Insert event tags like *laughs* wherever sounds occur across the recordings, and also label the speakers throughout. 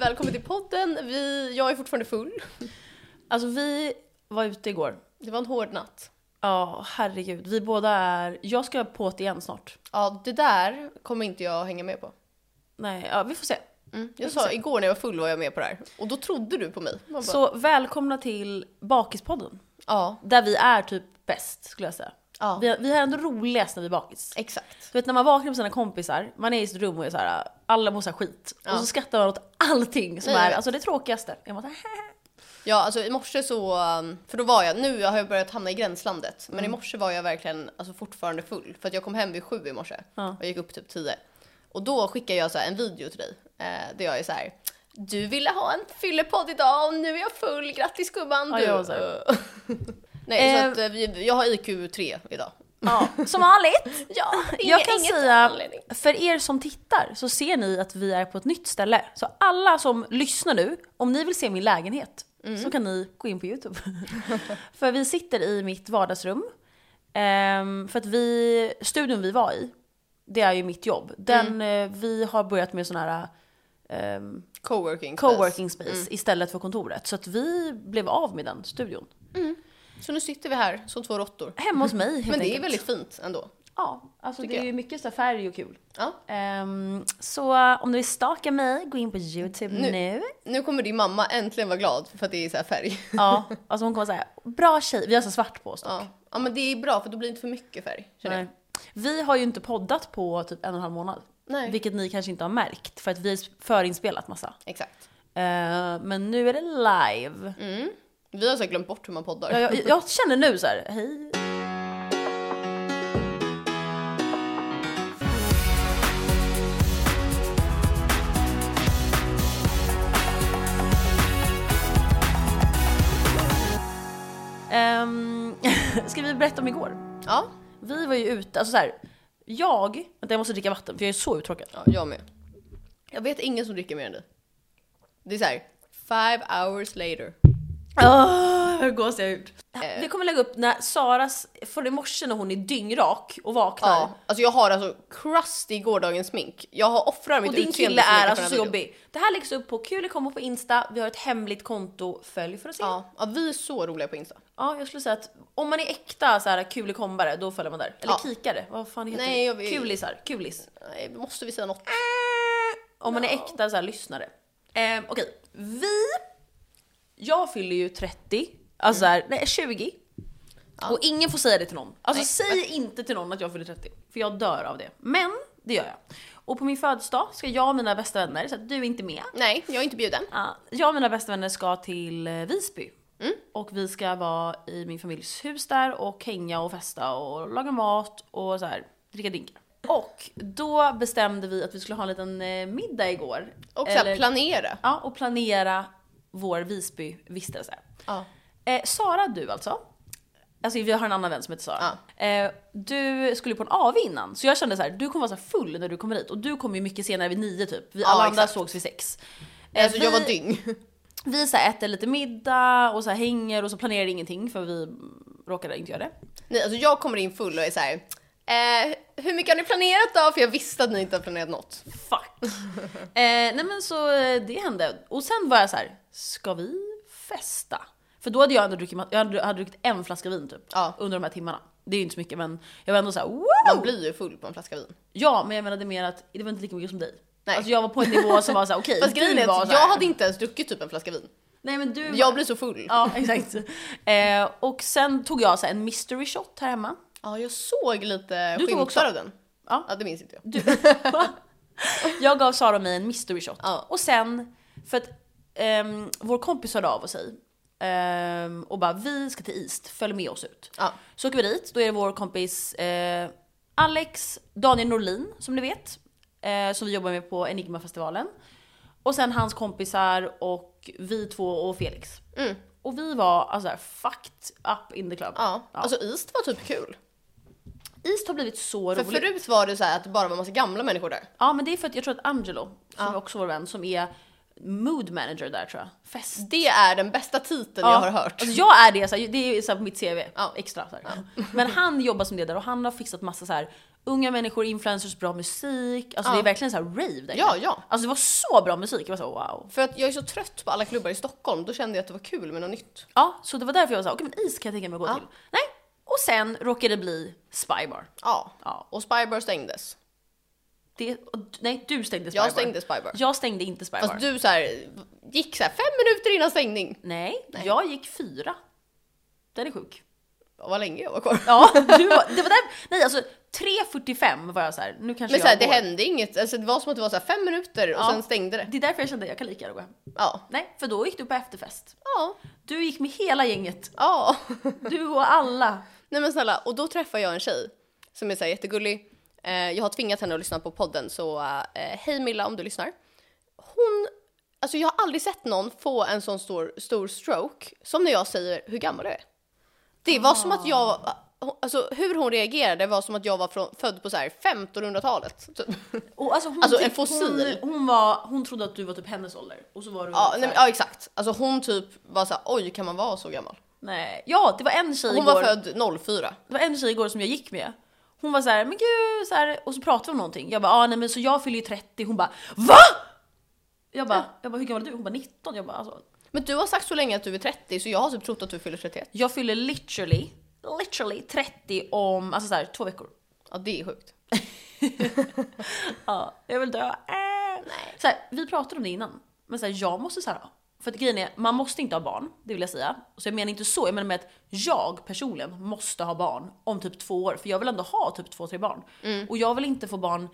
Speaker 1: välkommen till podden. Vi, jag är fortfarande full.
Speaker 2: Alltså vi var ute igår.
Speaker 1: Det var en hård natt.
Speaker 2: Ja, herregud. Vi båda är... Jag ska på det igen snart.
Speaker 1: Ja, det där kommer inte jag hänga med på.
Speaker 2: Nej, ja, vi får se.
Speaker 1: Jag sa igår när jag var full var jag med på det här. Och då trodde du på mig. Man bara,
Speaker 2: Så välkomna till Bakispodden.
Speaker 1: Ja,
Speaker 2: Där vi är typ bäst skulle jag säga.
Speaker 1: ja.
Speaker 2: Vi, vi är ändå roligast när vi är bakis.
Speaker 1: Exakt.
Speaker 2: Du vet när man vaknar med sina kompisar, man är i sitt rum och är så här, alla mår så här skit. Och så skrattar man åt allting som
Speaker 1: Nej, jag
Speaker 2: är
Speaker 1: vet.
Speaker 2: alltså, det tråkigaste. Jag bara, "Hähä."
Speaker 1: Ja, alltså i morse så, um, för då var jag, nu har jag börjat hamna i gränslandet,
Speaker 2: Mm.
Speaker 1: men i morse var jag verkligen alltså, fortfarande full. För att jag kom hem vid sju i morse och gick upp typ tio. Och då skickade jag så här, en video till dig eh, där jag är så här. Du ville ha en fyllepodd idag och nu är jag full, grattis gumman!
Speaker 2: Ja,
Speaker 1: Du.
Speaker 2: jag var så här.
Speaker 1: *laughs* Nej,
Speaker 2: Eh.
Speaker 1: så att, eh, vi, jag har IQ3 idag.
Speaker 2: ja, som vanligt.
Speaker 1: *laughs* Ja,
Speaker 2: Jag kan säga, för er som tittar så ser ni att vi är på ett nytt ställe. Så alla som lyssnar nu, om ni vill se min lägenhet
Speaker 1: Mm.
Speaker 2: så kan ni gå in på YouTube. *laughs* för vi sitter i mitt vardagsrum. Ehm, för att vi, studion vi var i, det är ju mitt jobb. Den,
Speaker 1: Mm.
Speaker 2: eh, vi har börjat med sån här ehm,
Speaker 1: Coworking. space.
Speaker 2: coworking space
Speaker 1: Mm.
Speaker 2: istället för kontoret. Så att vi blev av med den studion.
Speaker 1: Så nu sitter vi här som två råttor.
Speaker 2: Hemma hos mig helt
Speaker 1: Men det är
Speaker 2: enkelt.
Speaker 1: väldigt fint ändå.
Speaker 2: Ja, alltså det
Speaker 1: tycker
Speaker 2: är ju mycket så här färg och kul.
Speaker 1: Ja.
Speaker 2: Ehm, så eh, om du vill stalka mig, gå in på YouTube nu.
Speaker 1: *laughs* Nu kommer din mamma äntligen vara glad för att det är så här färg.
Speaker 2: Ja, alltså hon kommer säga bra tjej. Vi har så svart på oss dock.
Speaker 1: Ja. ja, men det är bra för då blir det inte för mycket färg. Känner jag.
Speaker 2: Nej. Vi har ju inte poddat på typ en och en halv månad.
Speaker 1: Nej.
Speaker 2: Vilket ni kanske inte har märkt för att vi har förinspelat massa.
Speaker 1: Exakt. Mm.
Speaker 2: Eh, men nu är det live.
Speaker 1: Vi har så här glömt bort hur man poddar.
Speaker 2: Ja, Jag, jag känner nu så här, hej. Um, *laughs* ska vi berätta om igår?
Speaker 1: *laughs* Ja,
Speaker 2: Vi var ju ute, alltså så här, jag, vänta jag måste dricka vatten för jag är så uttråkad.
Speaker 1: ja jag med. Jag vet ingen som dricker mer än dig. Det är så här, five hours later.
Speaker 2: Oh, hur gås jag ut? Det kommer lägga upp när Saras, från i morse när hon är dyngrak och vaknar.
Speaker 1: Ja, alltså jag har alltså crust i gårdagens smink. Jag har offrar mitt
Speaker 2: Och din
Speaker 1: utseende
Speaker 2: kille
Speaker 1: för
Speaker 2: är
Speaker 1: den
Speaker 2: alltså
Speaker 1: här
Speaker 2: så
Speaker 1: videon.
Speaker 2: jobbig. Det här läggs upp på Kulikombo på Insta, vi har ett hemligt konto, följ för att se. Ja.
Speaker 1: Ja, ja, vi är så roliga på Insta.
Speaker 2: jag skulle säga att om man är äkta så här kulikombare, då följer man där. Eller
Speaker 1: Ja.
Speaker 2: kikare, vad fan heter
Speaker 1: Nej,
Speaker 2: det?
Speaker 1: jag vet-
Speaker 2: Kulisar, kulis.
Speaker 1: Nej, måste vi säga
Speaker 2: Äh.
Speaker 1: något?
Speaker 2: Om man är
Speaker 1: Ja.
Speaker 2: äkta så här lyssnare. Ehm, Okej, vi... Jag fyller ju 30, alltså så
Speaker 1: Mm.
Speaker 2: här, nej 20. Och ingen får säga det till någon. Alltså säg inte till någon att jag fyller 30, för jag dör av det. Men det gör jag. Och på min födelsedag ska jag och mina bästa vänner, så att du är inte med,
Speaker 1: Nej, jag är inte bjuden.
Speaker 2: Ja, jag och mina bästa vänner ska till eh, Visby.
Speaker 1: Mm.
Speaker 2: Och vi ska vara i min familjs hus där och hänga och festa och laga mat och så här, dricka drinkar. Och då bestämde vi att vi skulle ha en liten eh, middag igår.
Speaker 1: Och så här,
Speaker 2: Eller-
Speaker 1: planera.
Speaker 2: ja, och planera vår Visby-vistelse.
Speaker 1: Ja.
Speaker 2: Eh, Sara, du alltså. Alltså vi har en annan vän som heter Sara. Eh, du skulle ju på en AV innan, så jag kände så här, du kommer vara så här full när du kommer hit. Och du kom ju mycket senare vid nio typ. Vi
Speaker 1: Ja,
Speaker 2: alla andra
Speaker 1: exakt.
Speaker 2: sågs vid sex. Eh,
Speaker 1: Alltså jag
Speaker 2: vi-
Speaker 1: var dyng.
Speaker 2: vi så här äter lite middag och så här hänger och så planerar ingenting för vi mm, råkade inte göra det.
Speaker 1: Nej, alltså jag kommer in full och är så här. Eh, hur mycket har ni planerat då? För jag visste att ni inte har planerat något. *laughs*
Speaker 2: Fuck! eh, nej men så eh, det hände. Och sen var jag så här, ska vi festa? För då hade jag ändå druckit, ma- jag hade, hade druckit en flaska vin typ
Speaker 1: Ja.
Speaker 2: under de här timmarna. Det är ju inte så mycket men jag var ändå så här, wow!
Speaker 1: Man blir ju full på en flaska vin.
Speaker 2: Ja men jag menade mer att det var inte lika mycket som dig.
Speaker 1: Nej.
Speaker 2: Alltså jag var på en nivå som var såhär okej,
Speaker 1: *laughs* Fast grejen
Speaker 2: du
Speaker 1: är
Speaker 2: var
Speaker 1: att
Speaker 2: så här-
Speaker 1: jag hade inte ens druckit typ en flaska vin.
Speaker 2: Nej men du
Speaker 1: Jag blir så full.
Speaker 2: Ja exakt. Eh, och sen tog jag så här, en mystery shot här hemma.
Speaker 1: Ja, jag såg lite
Speaker 2: Du tog också.
Speaker 1: skymtar av den.
Speaker 2: Ja.
Speaker 1: ja, det minns inte jag.
Speaker 2: *laughs* Jag gav Sara och mig en mystery shot.
Speaker 1: Ja.
Speaker 2: Och sen, för att ehm, vår kompis hörde av sig ehm, och bara vi ska till East, följ med oss ut.
Speaker 1: Ja.
Speaker 2: Så åker vi dit, då är det vår kompis eh, Alex, Daniel Norlin som ni vet, eh, som vi jobbar med på Enigmafestivalen. Och sen hans kompisar och vi två och Felix.
Speaker 1: Mm.
Speaker 2: Och vi var alltså här, fucked up in the club.
Speaker 1: Ja. Alltså East var typ kul.
Speaker 2: East har blivit så
Speaker 1: För
Speaker 2: roligt.
Speaker 1: förut var det så här att det bara var massa gamla människor där.
Speaker 2: Ja men det är för att jag tror att Angelo, som är också vår vän, som är mood manager där tror jag. Fest.
Speaker 1: Det är den bästa titeln jag har hört.
Speaker 2: Alltså jag är det, så här, det är så här på mitt CV,
Speaker 1: Ja.
Speaker 2: extra. Så här. Men han jobbar som det där och han har fixat massa så här unga människor, influencers, bra musik. Alltså
Speaker 1: Ja.
Speaker 2: det är verkligen så här rave där
Speaker 1: Ja,
Speaker 2: inne.
Speaker 1: ja.
Speaker 2: Alltså det var så bra musik, jag var så wow.
Speaker 1: För att jag är så trött på alla klubbar i Stockholm, då kände jag att det var kul med något nytt.
Speaker 2: Ja, så det var därför jag var såhär, okej men is kan jag tänka mig att gå
Speaker 1: Ja.
Speaker 2: till. Nej, och sen råkade det bli Spybar.
Speaker 1: Ja.
Speaker 2: Ja,
Speaker 1: Och Spybar stängdes.
Speaker 2: det, och, nej du stängde Spybar.
Speaker 1: Jag stängde Spybar.
Speaker 2: Jag stängde inte Spybar.
Speaker 1: Fast Alltså, du så här, gick så här fem minuter innan stängning.
Speaker 2: Nej, jag gick fyra. Den är sjuk.
Speaker 1: Vad länge jag var kvar.
Speaker 2: Ja, *laughs* du var, det var där, nej alltså 3.45 var jag så här. nu kanske
Speaker 1: Men så
Speaker 2: jag
Speaker 1: här, det
Speaker 2: går.
Speaker 1: hände inget, alltså, det var som att det var så här fem minuter och
Speaker 2: Ja.
Speaker 1: sen stängde det.
Speaker 2: Det är därför jag kände att jag kan lika gärna gå hem.
Speaker 1: Ja.
Speaker 2: Nej, för då gick du på efterfest.
Speaker 1: Ja.
Speaker 2: Du gick med hela gänget.
Speaker 1: Ja. *laughs*
Speaker 2: Du och alla.
Speaker 1: Nej men snälla, och då träffar jag en tjej som är så här jättegullig. Eh, jag har tvingat henne att lyssna på podden så eh, hej Milla om du lyssnar. Hon, alltså jag har aldrig sett någon få en sån stor, stor stroke som när jag säger hur gammal du är. Det var som att jag, alltså hur hon reagerade var som att jag var från, född på så här 1500-talet. Typ.
Speaker 2: Och alltså hon,
Speaker 1: Alltså, en
Speaker 2: typ-
Speaker 1: fossil.
Speaker 2: Hon, hon, var, hon trodde att du var typ hennes ålder. Och så var du
Speaker 1: Ja,
Speaker 2: så
Speaker 1: nej,
Speaker 2: här-
Speaker 1: men, ja exakt, alltså hon typ var så här, oj kan man vara så gammal?
Speaker 2: nej. Ja, det var en tjej
Speaker 1: Hon
Speaker 2: igår.
Speaker 1: var född 04.
Speaker 2: Det var en tjej igår som jag gick med. Hon var så här, men gud, så här, och så pratade vi om någonting. Jag bara, ah, nej men så jag fyller ju 30. Hon bara, VA? Jag bara, jag bara hur gammal är du? Hon bara 19. Jag bara, alltså,
Speaker 1: Men du har sagt så länge att du är 30 så jag har typ trott att du fyller 31.
Speaker 2: jag fyller literally, literally 30 om, alltså så här, två veckor.
Speaker 1: Ja det är sjukt.
Speaker 2: Ja, jag vill dö. Äh. Så här, vi pratade om det innan, men så här, jag måste så här, för att grejen är, man måste inte ha barn, det vill jag säga. Så jag menar inte så, jag menar med att jag personligen måste ha barn om typ två år, för jag vill ändå ha typ två, tre barn.
Speaker 1: Mm.
Speaker 2: Och jag vill inte få barn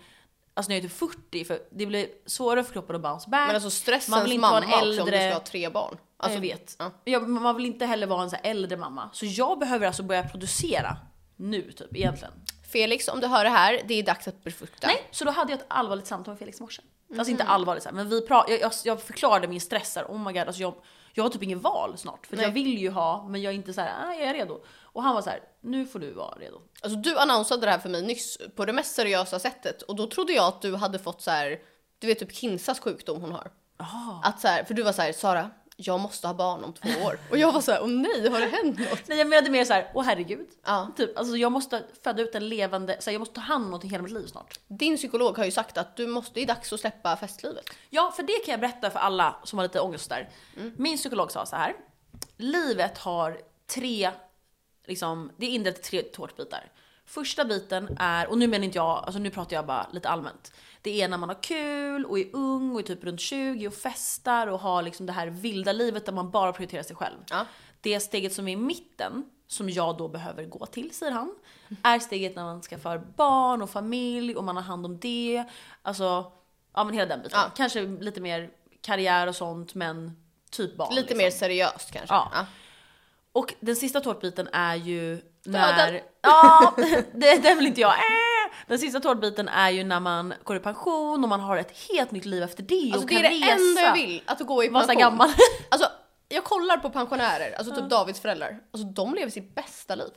Speaker 2: Alltså när jag är typ 40, för det blir svårare för kroppen att bounce back.
Speaker 1: Men alltså stressens
Speaker 2: Äh, Man vill inte
Speaker 1: mamma
Speaker 2: vara
Speaker 1: också
Speaker 2: en
Speaker 1: om du
Speaker 2: äldre-
Speaker 1: ska ha tre barn.
Speaker 2: Alltså,
Speaker 1: Alltså,
Speaker 2: jag vet.
Speaker 1: ja.
Speaker 2: Ja, men man vill inte heller vara en så här äldre mamma. Så jag behöver alltså börja producera nu typ egentligen.
Speaker 1: Felix om du hör det här, det är dags att befrukta.
Speaker 2: Nej, så då hade jag ett allvarligt samtal med Felix i morse.
Speaker 1: Mm.
Speaker 2: Alltså inte allvarligt så här, men vi pra- jag, jag, jag förklarade min stress här, oh my god, alltså jag, jag har typ ingen val snart. För att
Speaker 1: Nej.
Speaker 2: jag vill ju ha, men jag är inte så här, ah, jag är redo. Och han var så här, nu får du vara redo.
Speaker 1: Alltså du annonsade det här för mig nyss på det mest seriösa sättet och då trodde jag att du hade fått så här, du vet typ Kinsas sjukdom hon har.
Speaker 2: Ah.
Speaker 1: Att så här, för du var så här, Sara, jag måste ha barn om två år. Och jag var så här, åh nej, har det hänt något?
Speaker 2: Nej jag menade mer så här, åh herregud.
Speaker 1: Ja.
Speaker 2: Typ, alltså jag måste föda ut en levande, så här, jag måste ta hand om någonting hela mitt liv snart.
Speaker 1: Din psykolog har ju sagt att du måste, det är dags att släppa festlivet.
Speaker 2: Ja, för det kan jag berätta för alla som har lite ångest där. Min psykolog sa så här. Livet har tre, liksom, det är indelat i tre tårtbitar. Första biten är, och nu menar inte jag, alltså nu pratar jag bara lite allmänt. Det är när man har kul och är ung och är typ runt 20 och festar och har liksom det här vilda livet där man bara prioriterar sig själv.
Speaker 1: Ja.
Speaker 2: Det steget som är i mitten, som jag då behöver gå till, säger han, är steget när man skaffar barn och familj och man har hand om det. Alltså, ja men hela den biten.
Speaker 1: Ja.
Speaker 2: Kanske lite mer karriär och sånt, men typ barn.
Speaker 1: Lite
Speaker 2: liksom.
Speaker 1: mer seriöst kanske.
Speaker 2: Ja. Och den sista tårtbiten är ju
Speaker 1: den.
Speaker 2: när... Ja, *laughs* det, den vill inte jag. Äh! Den sista tårtbiten är ju när man går i pension och man har ett helt nytt liv efter det
Speaker 1: Alltså
Speaker 2: och
Speaker 1: det
Speaker 2: kan
Speaker 1: är det
Speaker 2: resa.
Speaker 1: enda jag vill, att gå i
Speaker 2: Vara så här
Speaker 1: pension.
Speaker 2: gammal.
Speaker 1: *laughs* Alltså, jag kollar på pensionärer, alltså typ Davids föräldrar. Alltså de lever sitt bästa liv.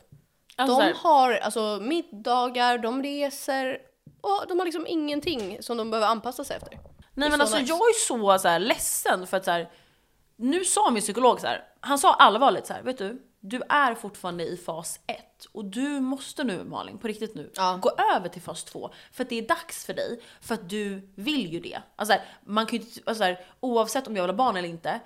Speaker 2: Alltså, så
Speaker 1: de
Speaker 2: här,
Speaker 1: har alltså middagar, de reser och de har liksom ingenting som de behöver anpassa sig efter.
Speaker 2: Nej
Speaker 1: är
Speaker 2: men
Speaker 1: så
Speaker 2: alltså
Speaker 1: nice.
Speaker 2: jag är så, så här, ledsen för att så här, nu sa min psykolog så här, han sa allvarligt så här, vet du, du är fortfarande i fas 1 och du måste nu Malin, på riktigt nu,
Speaker 1: Ja.
Speaker 2: gå över till fas 2 för att det är dags för dig för att du vill ju det. Alltså, så här, man kan ju, inte- alltså, så här, oavsett om jag vill ha barn eller inte,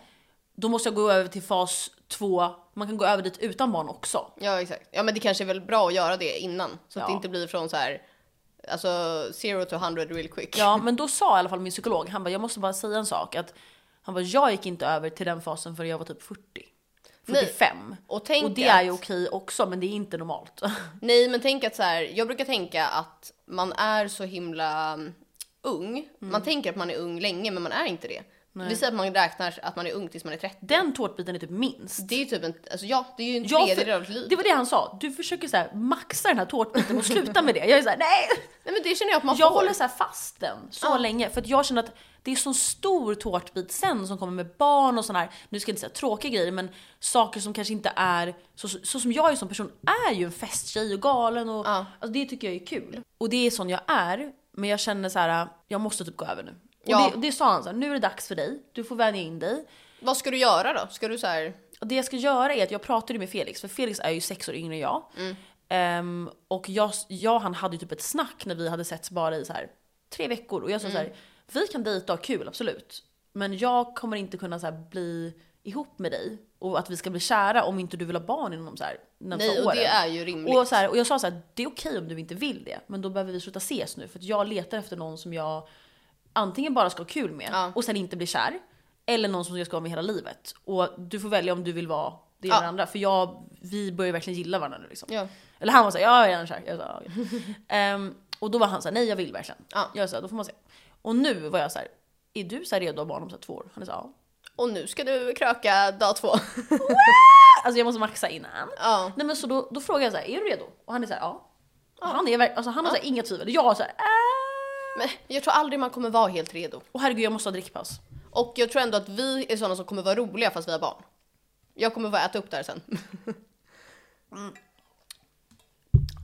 Speaker 2: då måste jag gå över till fas 2, man kan gå över dit utan barn också.
Speaker 1: Ja exakt. Ja men det kanske är väl bra att göra det innan så att det
Speaker 2: Ja.
Speaker 1: inte blir från så här alltså zero to hundred real quick.
Speaker 2: Ja, men då sa i alla fall min psykolog, han bara jag måste bara säga en sak. Att, han bara jag gick inte över till den fasen förrän jag var typ 40.
Speaker 1: Nej.
Speaker 2: 45.
Speaker 1: Och tänk
Speaker 2: det
Speaker 1: att-
Speaker 2: är ju okej också men det är inte normalt. *laughs*
Speaker 1: Nej men tänk att så här, jag brukar tänka att man är så himla mm, ung. Man tänker att man är ung länge men man är inte det. Vi säger att man räknar att man är ung tills man är 30.
Speaker 2: Den tårtbiten är typ minst.
Speaker 1: Det är ju typ en, alltså ja det är ju en
Speaker 2: Jag
Speaker 1: tredjedel av ett liv.
Speaker 2: det var det han sa, du försöker så här, maxa den här tårtbiten och sluta med det. Jag är såhär nej!
Speaker 1: Nej men det känner jag att man
Speaker 2: Jag
Speaker 1: får.
Speaker 2: håller så här fast den så länge för att jag känner att det är så stor tårtbit sen som kommer med barn och sån här, nu ska jag inte säga tråkiga grejer men saker som kanske inte är, så, så som jag är som person är ju en festtjej och galen och
Speaker 1: Ja.
Speaker 2: alltså, det tycker jag är kul. Och det är sån jag är men jag känner så här: jag måste typ gå över nu. Och
Speaker 1: Ja.
Speaker 2: det, det sa han såhär, nu är det dags för dig, du får vänja in dig.
Speaker 1: Vad ska du göra då? Ska du så här... Mm.
Speaker 2: Och det jag ska göra är att jag pratade med Felix, för Felix är ju sex år yngre än jag. Ehm, och jag, jag och han hade ju typ ett snack när vi hade setts bara i så här tre veckor och jag sa så
Speaker 1: Mm.
Speaker 2: här, vi kan dejta och ha kul absolut. Men jag kommer inte kunna så här bli ihop med dig och att vi ska bli kära om inte du vill ha barn inom så här närmsta
Speaker 1: Nej, och
Speaker 2: åren.
Speaker 1: det är ju rimligt.
Speaker 2: Och, så här, och jag sa så här, det är okej om du inte vill det, men då behöver vi sluta ses nu. För att jag letar efter någon som jag antingen bara ska ha kul med
Speaker 1: Ja.
Speaker 2: och sen inte bli kär. Eller någon som jag ska vara med hela livet. Och du får välja om du vill vara det ena
Speaker 1: Ja.
Speaker 2: eller andra. För jag, vi börjar verkligen gilla varandra nu liksom.
Speaker 1: Ja.
Speaker 2: Eller han var såhär, jag är redan kär. Jag sa, "Ja,
Speaker 1: *laughs*
Speaker 2: okej." Ehm, och då var han såhär, nej jag vill verkligen.
Speaker 1: Ja.
Speaker 2: Jag sa, då får man se. Och nu var jag så här, är du så här redo att ha barn om så här två år? Han sa, ja.
Speaker 1: Och nu ska du kröka dag två. *laughs*
Speaker 2: *laughs* Alltså jag måste maxa innan.
Speaker 1: ja.
Speaker 2: Nej men så då, då frågade jag så här, är du redo? Och han är så här, ja. Och han är verkligen, alltså han har så här, inga tvivel. Jag har så här, äh.
Speaker 1: Men jag tror aldrig man kommer vara helt redo.
Speaker 2: Och herregud jag måste ha drickpaus.
Speaker 1: Och jag tror ändå att vi är sådana som kommer vara roliga fast vi har barn. Jag kommer bara äta upp det här sen. *laughs*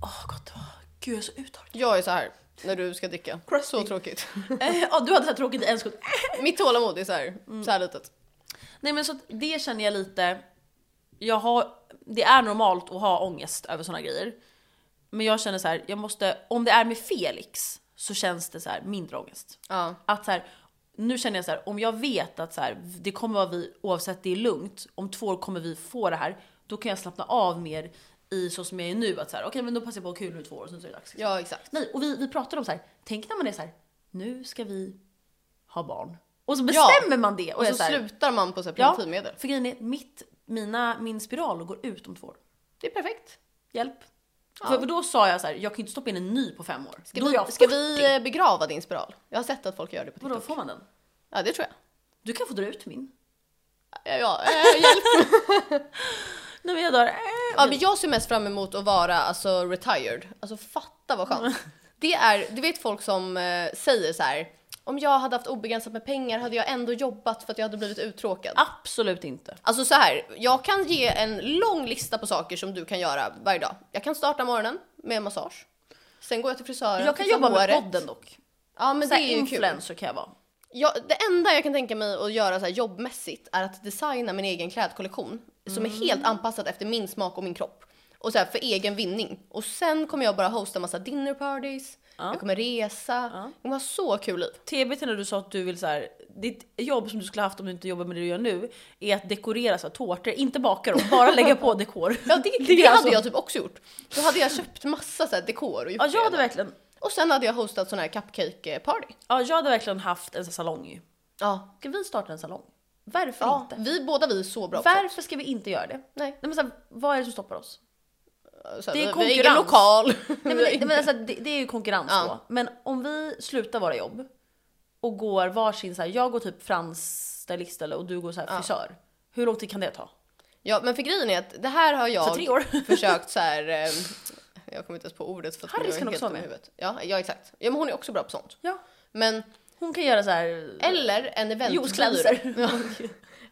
Speaker 2: Åh gott det var. Gud jag är så uttorkad.
Speaker 1: *laughs* Jag är så här när du ska dricka. Så tråkigt.
Speaker 2: Eh, Ja du hade så här tråkigt i en sekund. *laughs*
Speaker 1: Mitt tålamod är så här,
Speaker 2: Mm.
Speaker 1: så här litet.
Speaker 2: Nej men så att det känner jag lite, jag har, det är normalt att ha ångest över sådana grejer. Men jag känner så här, jag måste, om det är med Felix så känns det så här mindre ångest.
Speaker 1: Ja.
Speaker 2: Att så här, nu känner jag så här, om jag vet att så här, det kommer vara vi, oavsett det är lugnt, om två år kommer vi få det här, då kan jag slappna av mer i så som jag är nu. Att så här, okej men då passar jag på att ha kul nu i två år och sen så är det dags.
Speaker 1: Ja, exakt.
Speaker 2: Nej, och vi, vi pratade om så här, tänk när man är så här, nu ska vi ha barn. Och så
Speaker 1: Ja.
Speaker 2: bestämmer man det. Och,
Speaker 1: Och
Speaker 2: jag
Speaker 1: så
Speaker 2: är så här,
Speaker 1: slutar man på så här
Speaker 2: Ja.
Speaker 1: preventivmedel.
Speaker 2: för grejen är, mitt, mina, min spiral går ut om två år.
Speaker 1: Det är perfekt.
Speaker 2: Hjälp. För, för då sa jag så här, jag kan ju inte stoppa in en ny på fem år.
Speaker 1: Ska
Speaker 2: då är
Speaker 1: vi,
Speaker 2: jag
Speaker 1: ska
Speaker 2: 40.
Speaker 1: vi eh, begrava din spiral? Jag har sett att folk gör det på
Speaker 2: Vadå,
Speaker 1: TikTok.
Speaker 2: får man den?
Speaker 1: Ja, det tror jag.
Speaker 2: Du kan få dra ut min.
Speaker 1: Ja, ja, eh, hjälp.
Speaker 2: *laughs* Nej men jag dör. Äh,
Speaker 1: ja, men jag ser mest fram emot att vara alltså, retired. Alltså fatta vad
Speaker 2: *laughs*
Speaker 1: skönt. Det är, du vet folk som eh, säger så här. Om jag hade haft obegränsat med pengar hade jag ändå jobbat för att jag hade blivit uttråkad.
Speaker 2: Absolut inte.
Speaker 1: Alltså så här, jag kan ge en lång lista på saker som du kan göra varje dag. Jag kan starta morgonen med en massage. Sen går jag till frisören.
Speaker 2: Jag kan
Speaker 1: fixar
Speaker 2: jobba med
Speaker 1: håret.
Speaker 2: podden dock.
Speaker 1: Ja men
Speaker 2: Så
Speaker 1: det
Speaker 2: här,
Speaker 1: är ju kul.
Speaker 2: influencer kan jag vara.
Speaker 1: Jag, det enda jag kan tänka mig att göra så här jobbmässigt är att designa min egen klädkollektion som är helt
Speaker 2: Mm.
Speaker 1: anpassad efter min smak och min kropp. Och så här för egen vinning. Och sen kommer jag bara hosta massa dinner parties, jag kommer resa, jag kommer ha så kul
Speaker 2: *laughs*
Speaker 1: liv.
Speaker 2: TBT när du sa att du vill så här, ditt jobb som du skulle haft om du inte jobbar med det du gör nu är att dekorera så här, tårtor, inte baka dem, bara lägga *laughs* på dekor.
Speaker 1: Ja det, det,
Speaker 2: är alltså-
Speaker 1: hade jag typ också gjort. Då hade jag köpt massa så här dekor och gjort
Speaker 2: Ja jag hade
Speaker 1: det.
Speaker 2: verkligen,
Speaker 1: Och sen hade jag hostat sån här cupcake party.
Speaker 2: ja, jag hade verkligen haft en sån här salong ju.
Speaker 1: Ja.
Speaker 2: Ska vi starta en salong? Varför
Speaker 1: ja.
Speaker 2: inte?
Speaker 1: Vi båda vi är så bra på sånt.
Speaker 2: Varför ska vi inte göra det?
Speaker 1: Nej.
Speaker 2: Nej men så här, vad är det som stoppar oss?
Speaker 1: Så här,
Speaker 2: Det
Speaker 1: vi-
Speaker 2: är
Speaker 1: vi har ingen
Speaker 2: konkurrens.
Speaker 1: lokal.
Speaker 2: *laughs* Nej, men, det- men alltså, det, det är ju konkurrens
Speaker 1: Ja.
Speaker 2: då. Men om vi slutar våra jobb och går varsin, så här, jag går typ frans stylist eller och du går så här, frisör. Hur lång tid kan det ta?
Speaker 1: Ja, men för grejen är att det här har
Speaker 2: Så
Speaker 1: jag
Speaker 2: tre år.
Speaker 1: *laughs* försökt så här. eh, Jag kommer inte ens på ordet för att
Speaker 2: Harry
Speaker 1: nu är
Speaker 2: ska nog
Speaker 1: helt
Speaker 2: vara
Speaker 1: dum i
Speaker 2: med.
Speaker 1: huvudet. Ja, ja exakt. Ja, men hon är också bra på sånt.
Speaker 2: Ja.
Speaker 1: Men
Speaker 2: Hon kan göra så här.
Speaker 1: eller en eventbyrå.
Speaker 2: Juicecleanser.
Speaker 1: Ja.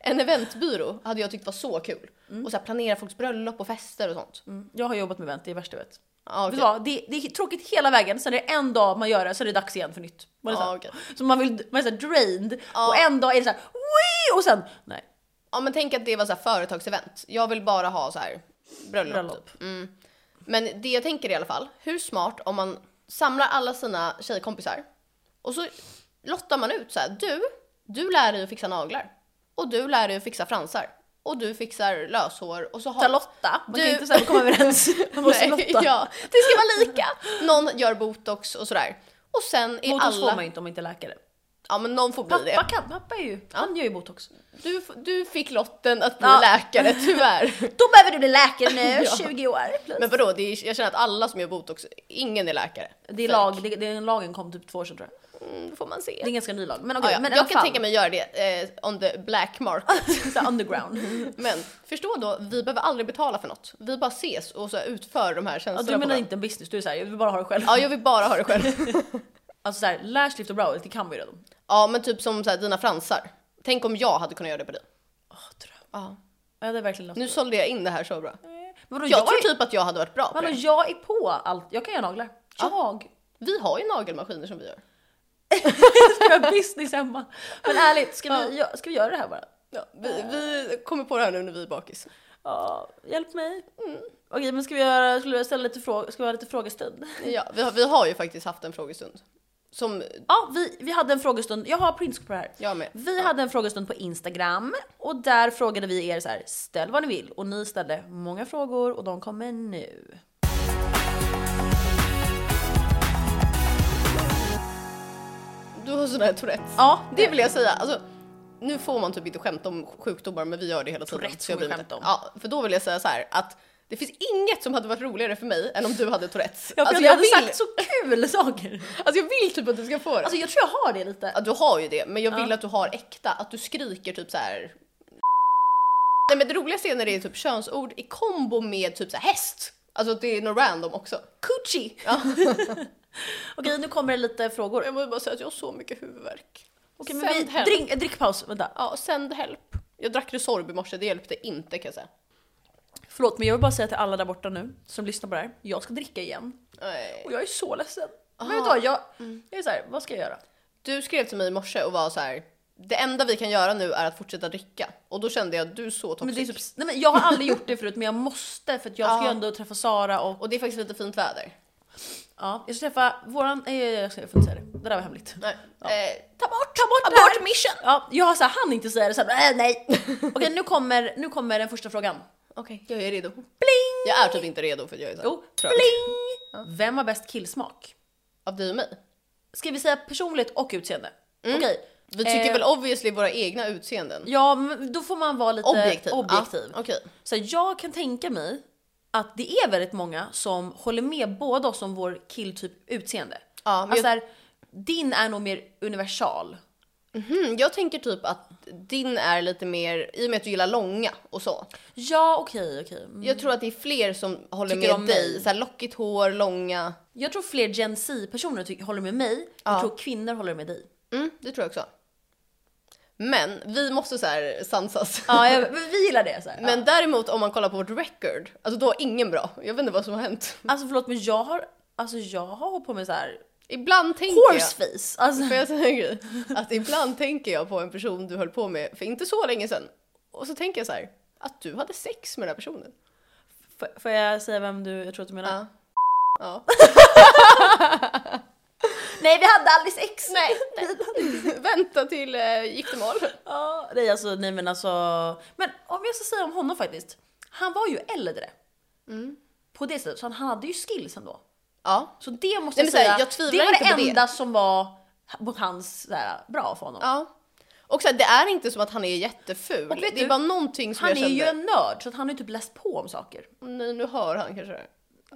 Speaker 1: En eventbyrå hade jag tyckt var så kul. Och så här, planera folks bröllop och fester och sånt.
Speaker 2: *laughs* Mm, Jag har jobbat med event, det är värst jag vet.
Speaker 1: Ja,
Speaker 2: Vet
Speaker 1: okej.
Speaker 2: du vad? Det, det är tråkigt hela vägen, sen är det en dag man gör det, sen är det dags igen för nytt. Man är så, här,
Speaker 1: Ja, okej.
Speaker 2: så man, vill, man är så här drained
Speaker 1: Ja.
Speaker 2: och en dag är det så här, "Wii!" och sen nej.
Speaker 1: ja men tänk att det var så här företagsevent. Jag vill bara ha så här bröllop.
Speaker 2: Bröllop.
Speaker 1: Typ. Mm. Men det jag tänker i alla fall, hur smart om man samlar alla sina tjejkompisar och så lottar man ut så här, du, du lär dig att fixa naglar och du lär dig att fixa fransar och du fixar löshår och så har
Speaker 2: Charlotta, man
Speaker 1: Du-
Speaker 2: kan inte så här
Speaker 1: *laughs*
Speaker 2: komma överens. Man måste
Speaker 1: Nej,
Speaker 2: lotta.
Speaker 1: ja, det ska vara lika. Någon gör botox och sådär. Och sen är
Speaker 2: Botox
Speaker 1: alla...
Speaker 2: får man ju inte om man inte är läkare.
Speaker 1: Ja men någon får bli
Speaker 2: Pappa,
Speaker 1: det.
Speaker 2: kan, pappa är ju, han gör ju botox.
Speaker 1: Du, f- du fick lotten att bli
Speaker 2: Ja.
Speaker 1: läkare
Speaker 2: *laughs*
Speaker 1: tyvärr.
Speaker 2: Då behöver du bli läkare *laughs* nu,
Speaker 1: Ja.
Speaker 2: 20 år.
Speaker 1: Men vadå, det är, jag känner att alla som gör botox, ingen är läkare.
Speaker 2: det är lag, det, det, den lagen kom typ två år sedan tror jag.
Speaker 1: Mm, då får man se.
Speaker 2: Det är en ganska ny lag. Men okej,
Speaker 1: ja, ja.
Speaker 2: men i alla
Speaker 1: jag kan
Speaker 2: fall.
Speaker 1: tänka mig göra det eh, on the black market.
Speaker 2: *laughs* så här underground.
Speaker 1: Men förstå då, vi behöver aldrig betala för något. Vi bara ses och så här utför de här
Speaker 2: Ja,
Speaker 1: tjänsterna.
Speaker 2: du
Speaker 1: på
Speaker 2: menar
Speaker 1: varandra.
Speaker 2: inte en business, du är såhär, jag vill bara ha det själv.
Speaker 1: Ja, jag vill bara ha det själv. *laughs*
Speaker 2: Alltså såhär, lash lift och brow, det kan man ju redan.
Speaker 1: Ja, men typ som så här, dina fransar. Tänk om jag hade kunnat göra det på dig.
Speaker 2: Åh, dröm.
Speaker 1: Ja.
Speaker 2: Ja, det är verkligen något.
Speaker 1: Nu sålde jag in det här så bra.
Speaker 2: Vadå,
Speaker 1: Jag,
Speaker 2: jag,
Speaker 1: tror
Speaker 2: är,
Speaker 1: typ att jag hade varit bra på
Speaker 2: vadå,
Speaker 1: det.
Speaker 2: jag är på allt, jag kan göra naglar. Jag
Speaker 1: Vi har ju nagelmaskiner som vi gör.
Speaker 2: *laughs* ska göra business hemma. Men ärligt, ska vi, gö- ska vi göra det här bara?
Speaker 1: Ja, vi, vi kommer på det här nu när vi är bakis.
Speaker 2: Ja, hjälp mig. Okej, men ska vi göra, skulle jag ställa lite frågor, ska vi ha lite frågestund?
Speaker 1: Ja, vi har, vi har ju faktiskt haft en frågestund. Som
Speaker 2: Ja, vi, vi hade en frågestund, jag har printscoop på det här.
Speaker 1: jag med.
Speaker 2: Vi hade en frågestund på Instagram och där frågade vi er så här, ställ vad ni vill och ni ställde många frågor och de kommer nu.
Speaker 1: Du har sån här Tourettes.
Speaker 2: Ja,
Speaker 1: Det vill jag säga. Alltså, nu får man typ inte skämta om sjukdomar men vi gör det hela tiden.
Speaker 2: Tourettes
Speaker 1: så jag
Speaker 2: får vi
Speaker 1: blir-
Speaker 2: skämta om.
Speaker 1: Ja, för då vill jag säga så här att det finns inget som hade varit roligare för mig än om du hade Tourettes.
Speaker 2: Ja, för
Speaker 1: alltså,
Speaker 2: jag
Speaker 1: jag
Speaker 2: hade
Speaker 1: vill,
Speaker 2: sagt så kul saker.
Speaker 1: alltså jag vill typ att du ska få det.
Speaker 2: Alltså jag tror jag har det lite.
Speaker 1: ja, du har ju det men jag vill
Speaker 2: Ja.
Speaker 1: att du har äkta, att du skriker typ så här. Nej men det roligaste är när det är typ könsord i kombo med typ så här häst. Alltså att det är något random också.
Speaker 2: Coochie! Okej, nu kommer det lite
Speaker 1: *laughs*
Speaker 2: frågor.
Speaker 1: Jag vill bara säga att jag har så mycket huvudvärk.
Speaker 2: Okej, men vi,
Speaker 1: Sänd help.
Speaker 2: drink, drickpaus, vänta.
Speaker 1: Ja, send help. Jag drack Resorb i morse, det hjälpte inte kan jag säga.
Speaker 2: Förlåt men jag vill bara säga till alla där borta nu som lyssnar på det här. Jag ska dricka igen.
Speaker 1: Nej.
Speaker 2: Och jag är så ledsen. Men
Speaker 1: Ah.
Speaker 2: vet du vad, jag,
Speaker 1: Mm.
Speaker 2: jag är såhär, vad ska jag göra?
Speaker 1: Du skrev till mig i morse och var så här. Det enda vi kan göra nu är att fortsätta dricka. Och då kände jag att du är så toxic.
Speaker 2: Men det är typ, nej, men jag har aldrig gjort det förut men jag måste för att jag ska
Speaker 1: Ja.
Speaker 2: ju ändå träffa Sara och
Speaker 1: Och det är faktiskt lite fint väder.
Speaker 2: ja, jag ska träffa våran, nej jag, ska, jag får inte säga det, det där var hemligt.
Speaker 1: Nej.
Speaker 2: Ja.
Speaker 1: Eh,
Speaker 2: Ta bort, ta bort
Speaker 1: det här.
Speaker 2: Ja, jag har så här, hann inte säga det så här, äh, nej.
Speaker 1: *laughs*
Speaker 2: Okej nu kommer, nu kommer den första frågan.
Speaker 1: Okej, jag är redo.
Speaker 2: Bling!
Speaker 1: Jag är typ inte redo för att jag är så här
Speaker 2: Jo,
Speaker 1: trög.
Speaker 2: bling! Vem har bäst killsmak?
Speaker 1: Av dig och mig.
Speaker 2: Ska vi säga personligt och utseende?
Speaker 1: Mm.
Speaker 2: Okej.
Speaker 1: Vi tycker
Speaker 2: Eh.
Speaker 1: väl obviously våra egna utseenden.
Speaker 2: Ja, men då får man vara lite
Speaker 1: Objektiv.
Speaker 2: eh, objektiv.
Speaker 1: Ja, Okej.
Speaker 2: Så jag kan tänka mig att det är väldigt många som håller med båda oss om vår killtyp utseende.
Speaker 1: Ja, men
Speaker 2: alltså
Speaker 1: jag,
Speaker 2: här, din är nog mer universal.
Speaker 1: mm, jag tänker typ att din är lite mer, i och med att du gillar långa och så.
Speaker 2: Ja, okej, okej. Mm.
Speaker 1: Jag tror att det är fler som håller
Speaker 2: Tycker om
Speaker 1: med dig.
Speaker 2: mig.
Speaker 1: Så här lockigt hår, långa.
Speaker 2: Jag tror fler Gen Z-personer ty- håller med mig.
Speaker 1: Ja.
Speaker 2: Jag tror kvinnor håller
Speaker 1: *laughs*
Speaker 2: med dig.
Speaker 1: Mm, det tror jag också. Men vi måste så här sansas.
Speaker 2: Ja, jag, men vi gillar det. Så här.
Speaker 1: Men däremot om man kollar på vårt record, alltså då är ingen bra. Jag vet inte vad som har hänt.
Speaker 2: Ja. Alltså förlåt, men jag har, alltså, jag har hållit på med så här
Speaker 1: Ibland tänker jag...
Speaker 2: horseface. Alltså,
Speaker 1: *laughs* Får jag säga en *laughs* grej? Att ibland tänker jag på en person du höll på med för inte så länge sedan. Och så tänker jag så här, att du hade sex med den här personen.
Speaker 2: f- får jag säga vem du, jag tror att du menar?
Speaker 1: Ja. *laughs* Ja.
Speaker 2: Nej, vi hade aldrig sex!
Speaker 1: Nej, *laughs* Vänta till äh, giftermål.
Speaker 2: Ja, nej alltså, nej men alltså. Men om jag ska säga om honom faktiskt. Han var ju äldre.
Speaker 1: Mm.
Speaker 2: På det sättet, så han hade ju skills ändå.
Speaker 1: Ja.
Speaker 2: Så det måste
Speaker 1: Nej, men
Speaker 2: jag
Speaker 1: så här,
Speaker 2: säga,
Speaker 1: jag tvivlar
Speaker 2: det var
Speaker 1: inte på det.
Speaker 2: det enda som var mot hans så här, bra för honom.
Speaker 1: Ja. Och så här, det är inte som att han är jätteful.
Speaker 2: Och vet
Speaker 1: det är
Speaker 2: du,
Speaker 1: bara någonting som
Speaker 2: han
Speaker 1: jag
Speaker 2: är
Speaker 1: kände.
Speaker 2: ju en nörd så att han har ju typ läst på om saker.
Speaker 1: Nej, nu hör han kanske det.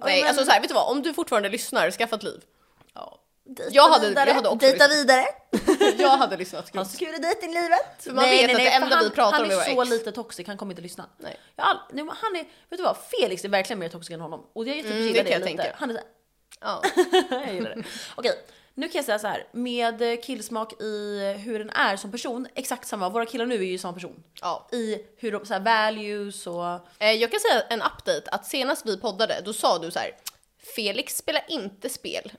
Speaker 1: Nej,
Speaker 2: men-
Speaker 1: alltså så här, vet du vad? Om du fortfarande lyssnar, skaffa ett liv.
Speaker 2: Ja. Dejta
Speaker 1: Jag hade- jag hade också
Speaker 2: dejta
Speaker 1: lyssnat.
Speaker 2: *laughs* vidare.
Speaker 1: *laughs* Jag hade lyssnat.
Speaker 2: Ha skuridejten i livet.
Speaker 1: man vet att det
Speaker 2: för
Speaker 1: enda vi
Speaker 2: han-
Speaker 1: pratar om är
Speaker 2: Han är
Speaker 1: våra
Speaker 2: så
Speaker 1: ex.
Speaker 2: lite toxic, han kommer inte lyssna.
Speaker 1: Nej.
Speaker 2: Jag har all, nej, men han är, vet du vad, Felix är verkligen mer toxic än honom. Och jag typ
Speaker 1: Mm, det
Speaker 2: gillar
Speaker 1: kan jag
Speaker 2: det, lite.
Speaker 1: tänka.
Speaker 2: Han är så här,
Speaker 1: Ja.
Speaker 2: *laughs* jag gillar det. Okej, nu kan jag säga så här. Med killsmak i hur den är som person, exakt samma. Våra killar nu är ju samma person.
Speaker 1: ja.
Speaker 2: I hur de, så här, values och...
Speaker 1: Eh, Jag kan säga en update att senast vi poddade då sa du så här Felix spelar inte spel